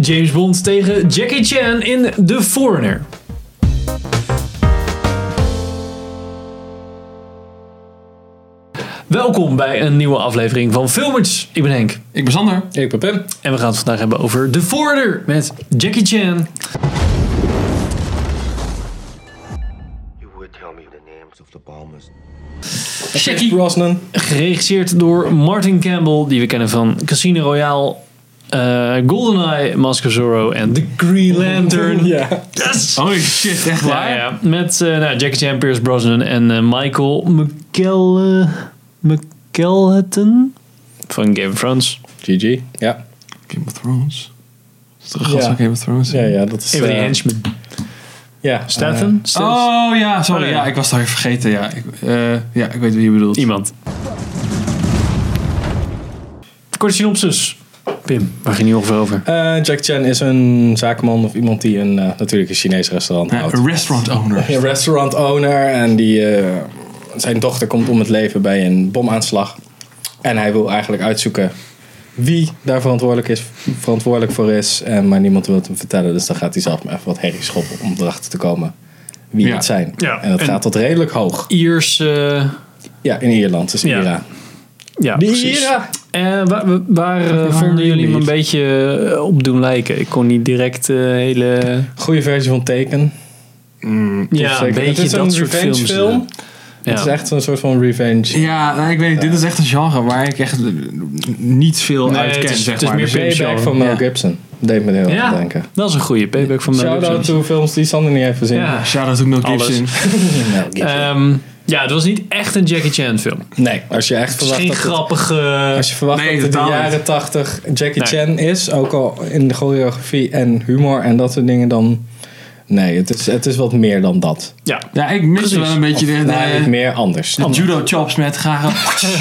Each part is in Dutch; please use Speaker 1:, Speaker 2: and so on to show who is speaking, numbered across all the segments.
Speaker 1: James Bond tegen Jackie Chan in The Foreigner. Welkom bij een nieuwe aflevering van Filmers. Ik ben Henk
Speaker 2: Ik ben Sander.
Speaker 3: Ik ben Pim.
Speaker 1: en we gaan het vandaag hebben over The Foreigner met Jackie Chan.
Speaker 4: You would tell me the names of the bombers.
Speaker 3: Jackie. Brosnan.
Speaker 1: Geregisseerd door Martin Campbell, die we kennen van Casino Royale, eh, GoldenEye, Mask of Zorro en The Green Lantern.
Speaker 3: Ja.
Speaker 1: Yes!
Speaker 2: Oh shit, echt
Speaker 1: Ja, ja. Met eh, nou, Jackie Chan, Pierce Brosnan en eh, Michael McKell, eh, McKelhattan van Game of Thrones.
Speaker 3: GG. Ja.
Speaker 2: Game of Thrones. Is toch een
Speaker 3: Ja.
Speaker 2: gast van Game of Thrones?
Speaker 3: Ja, ja, dat is...
Speaker 1: Een van die
Speaker 3: eh,
Speaker 1: henchmen.
Speaker 3: Ja. Eh,
Speaker 1: Statham? Stills?
Speaker 2: Oh ja, sorry.
Speaker 1: Oh, ja.
Speaker 2: Ja, ik was daar even vergeten. Ja, ik, eh, ja, ik weet wie je bedoelt.
Speaker 1: Iemand. Korte synopsis. Pim, waar ging je ongeveer over?
Speaker 3: Eh, Jack Chan is een zakenman of iemand die een, eh, natuurlijk een Chinees restaurant
Speaker 2: Ja,
Speaker 3: houdt.
Speaker 2: een restaurant owner.
Speaker 3: Een restaurant owner en die, eh, zijn dochter komt om het leven bij een bomaanslag. En hij wil eigenlijk uitzoeken wie daar verantwoordelijk, is, verantwoordelijk voor is. En, maar niemand wil het hem vertellen, dus dan gaat hij zelf maar even wat herrie schoppen om erachter te komen wie
Speaker 2: Ja.
Speaker 3: het zijn.
Speaker 1: Ja,
Speaker 3: En dat
Speaker 1: en-
Speaker 3: gaat tot redelijk hoog.
Speaker 1: Iers. eh,
Speaker 3: Ja, in Ierland, dus
Speaker 1: Ja.
Speaker 3: Ira.
Speaker 1: ja, precies. Eh, waar waar, eh, vonden jullie me een beetje eh, op doen lijken? Ik kon niet direct eh, hele...
Speaker 3: Goede versie van Taken.
Speaker 2: Mm,
Speaker 3: Of
Speaker 1: Ja, een
Speaker 3: zeker-
Speaker 1: beetje
Speaker 3: het is
Speaker 1: dat
Speaker 3: een
Speaker 1: soort
Speaker 3: revenge
Speaker 1: films. eh.
Speaker 3: film.
Speaker 1: Ja.
Speaker 3: Het is echt een soort van revenge.
Speaker 2: Ja, nou, ik weet niet. Dit is echt een genre waar ik echt eh, niet veel
Speaker 1: Nee,
Speaker 2: uit
Speaker 1: het
Speaker 2: ken,
Speaker 1: is-
Speaker 2: zeg
Speaker 1: het is
Speaker 2: maar.
Speaker 1: meer
Speaker 2: Dus-
Speaker 1: pay-
Speaker 3: Payback
Speaker 1: Show.
Speaker 3: van Mel
Speaker 2: Ja.
Speaker 3: Gibson. Deed me er heel erg aan
Speaker 1: Ja,
Speaker 3: denken.
Speaker 1: dat is een goede payback van Mel
Speaker 3: Shout-out
Speaker 1: Gibson.
Speaker 3: to films die Sander niet heeft gezien.
Speaker 1: Ja.
Speaker 2: Shout-out to Mel Gibson.
Speaker 3: Mel Gibson.
Speaker 1: Ehm, ja, het was niet echt een Jackie Chan film. Het
Speaker 3: nee, als je echt
Speaker 1: is
Speaker 3: verwacht
Speaker 1: geen
Speaker 3: dat het-
Speaker 1: grappige...
Speaker 3: als je verwacht
Speaker 2: Nee,
Speaker 3: dat het de
Speaker 2: totaal niet.
Speaker 3: jaren 80 Jackie
Speaker 1: Nee.
Speaker 3: Chan is, ook al in de choreografie en humor en dat soort dingen, dan... Nee, het is, het is wat meer dan dat.
Speaker 1: Ja,
Speaker 2: Ja, ik mis
Speaker 1: Precies.
Speaker 2: wel een beetje de, de,
Speaker 3: Nee, niet meer anders.
Speaker 2: de judo-chops met graag geluidjes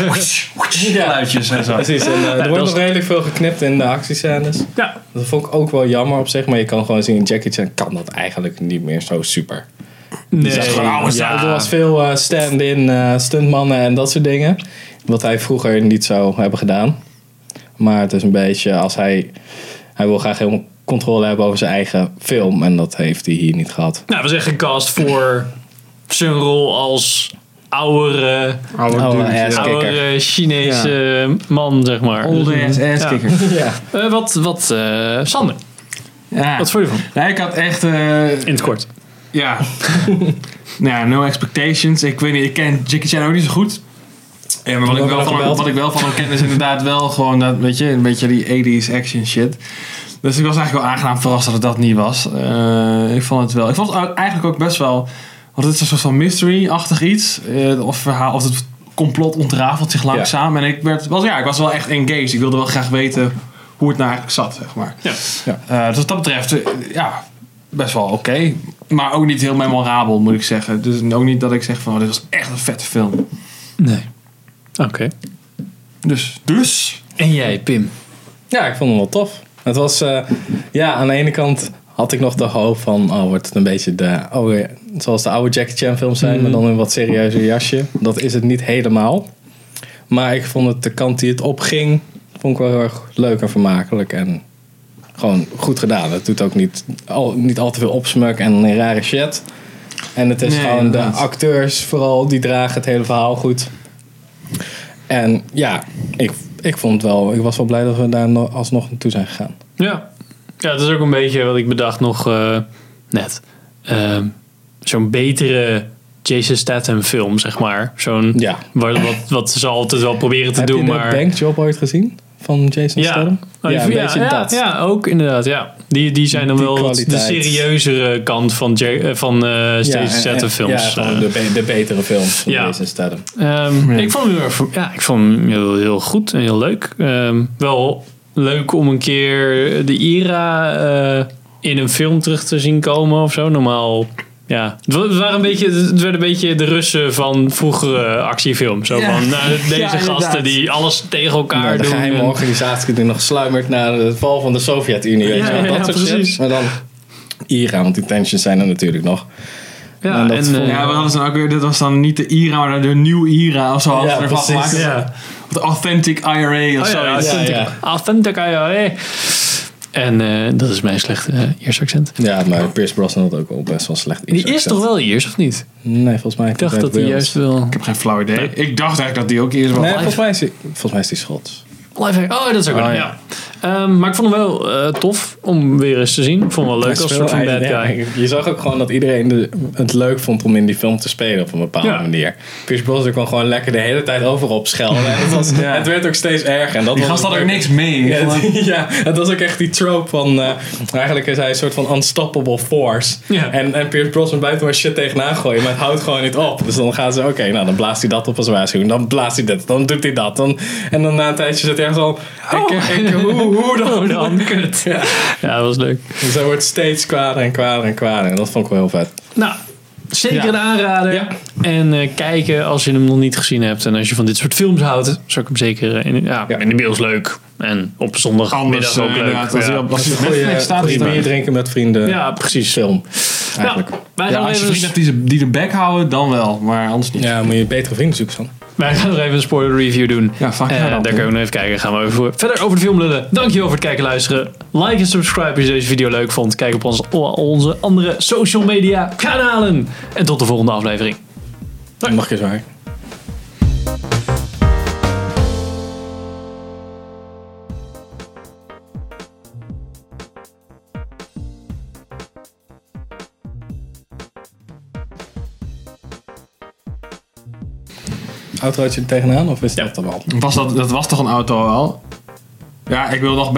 Speaker 2: en zo.
Speaker 3: Precies, en, eh, er
Speaker 1: dat
Speaker 3: wordt
Speaker 1: is-
Speaker 3: nog redelijk veel geknipt in de actiescènes.
Speaker 1: ja.
Speaker 3: Dat vond ik ook wel jammer op zich, maar je kan gewoon zien, Jackie Chan kan dat eigenlijk niet meer zo super.
Speaker 1: Nee.
Speaker 3: Dus
Speaker 2: gewoon, ouwe
Speaker 1: ja.
Speaker 2: zaal.
Speaker 3: Er was veel eh, stand-in eh, stuntmannen en dat soort dingen. Wat hij vroeger niet zou hebben gedaan. Maar het is een beetje als hij... Hij wil graag helemaal controle hebben over zijn eigen film. En dat heeft hij hier niet gehad.
Speaker 1: Nou, we zeggen cast voor zijn rol als oude,
Speaker 3: Oude ass kicker.
Speaker 1: oude Chinese man, zeg maar.
Speaker 2: Older
Speaker 1: Dus-
Speaker 2: ass
Speaker 1: Ja.
Speaker 2: kicker.
Speaker 3: Ja.
Speaker 1: Eh, wat, wat eh, Sander,
Speaker 2: Ja.
Speaker 1: wat vond je ervan?
Speaker 2: Nee, ik had echt... eh,
Speaker 1: In het kort.
Speaker 2: Ja. nou ja, no expectations. Ik weet niet, ik ken Jackie Chan ook niet zo goed. Ja, maar wat ik,
Speaker 3: hebben
Speaker 2: wel
Speaker 3: hem
Speaker 2: van hem,
Speaker 3: gebeld.
Speaker 2: wat ik wel van hem ken is inderdaad wel gewoon dat, weet je, een beetje die 80s action shit. Dus ik was eigenlijk wel aangenaam verrast dat het dat niet was. Eh, ik vond het wel. Ik vond het eigenlijk ook best wel. Want het is een soort van mystery-achtig iets. eh, of verhaal. Of het complot ontrafelt zich langzaam. En ik werd wel, ja, ik was wel echt engaged. Ik wilde wel graag weten hoe het nou eigenlijk zat, zeg maar.
Speaker 1: Ja.
Speaker 2: Eh, dus wat dat betreft, eh, ja, best wel oké. Maar ook niet heel memorabel, moet ik zeggen. Dus ook niet dat ik zeg van, oh, dit was echt een vette film.
Speaker 1: Nee. Oké.
Speaker 2: Dus, dus...
Speaker 1: En jij, Pim?
Speaker 3: ja, ik vond hem wel tof. Het was... eh, ja, aan de ene kant had ik nog de hoop van... Oh, wordt het een beetje de... Oh, eh, zoals de oude Jackie Chan films zijn. Maar dan in een wat serieuzer jasje. Dat is het niet helemaal. Maar ik vond het de kant die het opging, vond ik wel heel erg leuk en vermakelijk. En gewoon goed gedaan. Het doet ook niet al, niet al te veel opsmuk en rare shit. En het is
Speaker 2: Nee,
Speaker 3: gewoon de
Speaker 2: inderdaad.
Speaker 3: acteurs vooral, die dragen het hele verhaal goed. En ja, ik, ik vond het wel, ik was wel blij dat we daar no- alsnog naartoe zijn gegaan.
Speaker 1: Ja. Ja, dat is ook een beetje wat ik bedacht nog eh, net. Ehm, Zo'n betere Jason Statham film, zeg maar. Zo'n,
Speaker 3: Ja.
Speaker 1: waar- wat, wat ze altijd wel proberen te
Speaker 3: Heb
Speaker 1: doen,
Speaker 3: je de
Speaker 1: maar...
Speaker 3: Bankjob ooit gezien? Van Jason
Speaker 1: ja.
Speaker 3: Statham?
Speaker 1: Oh,
Speaker 3: Ja,
Speaker 1: ja,
Speaker 3: een
Speaker 1: ja,
Speaker 3: beetje
Speaker 1: ja,
Speaker 3: dat.
Speaker 1: ja, ook inderdaad, ja. Die, die zijn dan
Speaker 3: Die
Speaker 1: wel wat de
Speaker 3: kwaliteit.
Speaker 1: serieuzere kant van, Ja- eh, van eh
Speaker 3: Ja,
Speaker 1: Jason
Speaker 3: en-
Speaker 1: Statham
Speaker 3: en- Ja,
Speaker 1: films.
Speaker 3: gewoon
Speaker 1: eh.
Speaker 3: de, be- de betere films van
Speaker 1: Ja.
Speaker 3: Jason Statham.
Speaker 1: Ehm, Ik vond hem heel, erg ver- ja, ik vond hem heel, heel goed en heel leuk. Ehm, wel leuk om een keer de Ira eh, in een film terug te zien komen of zo. Normaal, ja. Het, wa- het waren een beetje, het werd een beetje de Russen van vroegere actiefilms. Zo
Speaker 2: Ja.
Speaker 1: van, nou, deze
Speaker 2: Ja,
Speaker 1: gasten
Speaker 2: inderdaad.
Speaker 1: die alles tegen
Speaker 3: Ja,
Speaker 1: elkaar
Speaker 3: Nou, de
Speaker 1: doen.
Speaker 3: geheime
Speaker 1: en-
Speaker 3: organisatie die nog sluimert na de val van de Sovjet-Unie. weet je
Speaker 1: Ja,
Speaker 3: wel,
Speaker 1: ja, ja,
Speaker 3: dat soort shit.
Speaker 1: precies.
Speaker 3: Maar dan IRA, want die tensions zijn er natuurlijk nog.
Speaker 1: ja,
Speaker 3: en dat
Speaker 1: en,
Speaker 3: vond-
Speaker 1: eh,
Speaker 2: Ja, we hadden ze dan ook weer... Dit was dan niet de IRA, maar de nieuwe IRA of zo. hadden ze ervan
Speaker 3: precies.
Speaker 2: gemaakt.
Speaker 1: ja.
Speaker 2: De Authentic IRA of
Speaker 1: Oh, ja,
Speaker 2: zo.
Speaker 1: authentic,
Speaker 3: ja.
Speaker 1: authentic IRA. En eh, dat is mijn slechte eh, Iers accent.
Speaker 3: Ja, maar Pierce Brosnan had ook wel best wel slecht
Speaker 1: Die is toch wel Iers, of niet?
Speaker 3: Nee, volgens mij.
Speaker 1: Ik dacht dat hij juist wel...
Speaker 2: heb geen flauw idee. Ik dacht eigenlijk dat die ook eerst was.
Speaker 3: Nee, volgens mij is hij, volgens mij is hij Schots.
Speaker 1: Lifehack. Oh, dat is ook wel.
Speaker 3: Oh,
Speaker 1: ja.
Speaker 3: ja.
Speaker 1: Ehm, maar ik vond hem wel eh, tof om weer eens te zien. Ik vond hem wel leuk
Speaker 3: Hij
Speaker 1: als soort
Speaker 3: speelde
Speaker 1: van bad
Speaker 3: eigenlijk-
Speaker 1: guy.
Speaker 3: ja, je zag ook gewoon dat iedereen de- het leuk vond om in die film te spelen op een bepaalde
Speaker 1: Ja.
Speaker 3: manier. Pierce Brosnan kwam gewoon lekker de hele tijd overal op schelden. En het, was,
Speaker 2: Ja.
Speaker 3: het werd ook steeds erger. En dat
Speaker 2: Die
Speaker 3: was
Speaker 2: gast
Speaker 3: het
Speaker 2: had ook
Speaker 3: leuke.
Speaker 2: niks mee. Ik
Speaker 3: Ja,
Speaker 2: vond het-
Speaker 3: het- ja, het was ook echt die trope van... eh, eigenlijk is hij een soort van unstoppable force.
Speaker 1: Ja.
Speaker 3: En, en Pierce Brosnan blijft er maar shit tegenaan gooien. Maar het houdt gewoon niet op. Dus dan gaan ze... Oké, nou dan blaast hij dat op als waarschuwing. Dan blaast hij dit. Dan doet hij dat. Dan, en dan na een tijdje zit hij echt al...
Speaker 2: Oh."
Speaker 3: Ik, ik, hoe, hoe dan?
Speaker 1: Oh, dan, kut. Ja. dat was leuk.
Speaker 3: Dus hij wordt steeds kwader en kwader en kwader. En dat vond ik wel heel vet.
Speaker 1: Nou, zeker
Speaker 2: Ja.
Speaker 1: een aanrader.
Speaker 3: Ja.
Speaker 1: En eh, kijken als je hem nog niet gezien hebt. En als je van dit soort films houdt, zou ik hem zeker... eh, in, ja,
Speaker 3: Ja.
Speaker 1: in de beeld leuk. En op zondagmiddag
Speaker 2: Anders,
Speaker 1: ook
Speaker 2: eh,
Speaker 1: leuk.
Speaker 2: inderdaad. Als
Speaker 1: ja.
Speaker 2: hij op- als hij op
Speaker 3: Dus Goeie,
Speaker 2: Netflix staat,
Speaker 3: goeie
Speaker 2: is
Speaker 3: bier
Speaker 2: het
Speaker 3: drinken met vrienden.
Speaker 1: Ja, precies.
Speaker 3: Film, eigenlijk.
Speaker 1: Nou, wij
Speaker 2: Ja,
Speaker 1: gaan,
Speaker 2: als je
Speaker 1: even,
Speaker 2: vrienden hebt die, ze- die de bek houden, dan wel. Maar anders niet.
Speaker 3: Ja, moet je betere vrienden zoeken, Sam.
Speaker 1: wij gaan nog even een spoiler review doen.
Speaker 2: Ja, fuck
Speaker 1: Eh,
Speaker 2: ja
Speaker 1: daar
Speaker 2: dan.
Speaker 1: kunnen we nog even kijken. Gaan we even voor. verder over de film lullen. Dankjewel voor het kijken en luisteren. Like en subscribe als je deze video leuk vond. Kijk op ons, onze andere social media kanalen. En tot de volgende aflevering.
Speaker 3: Mag je zwaar. Autootje er tegenaan of is dat dan al?
Speaker 2: Was dat, dat was toch een auto al? Ja, ik wil nog best.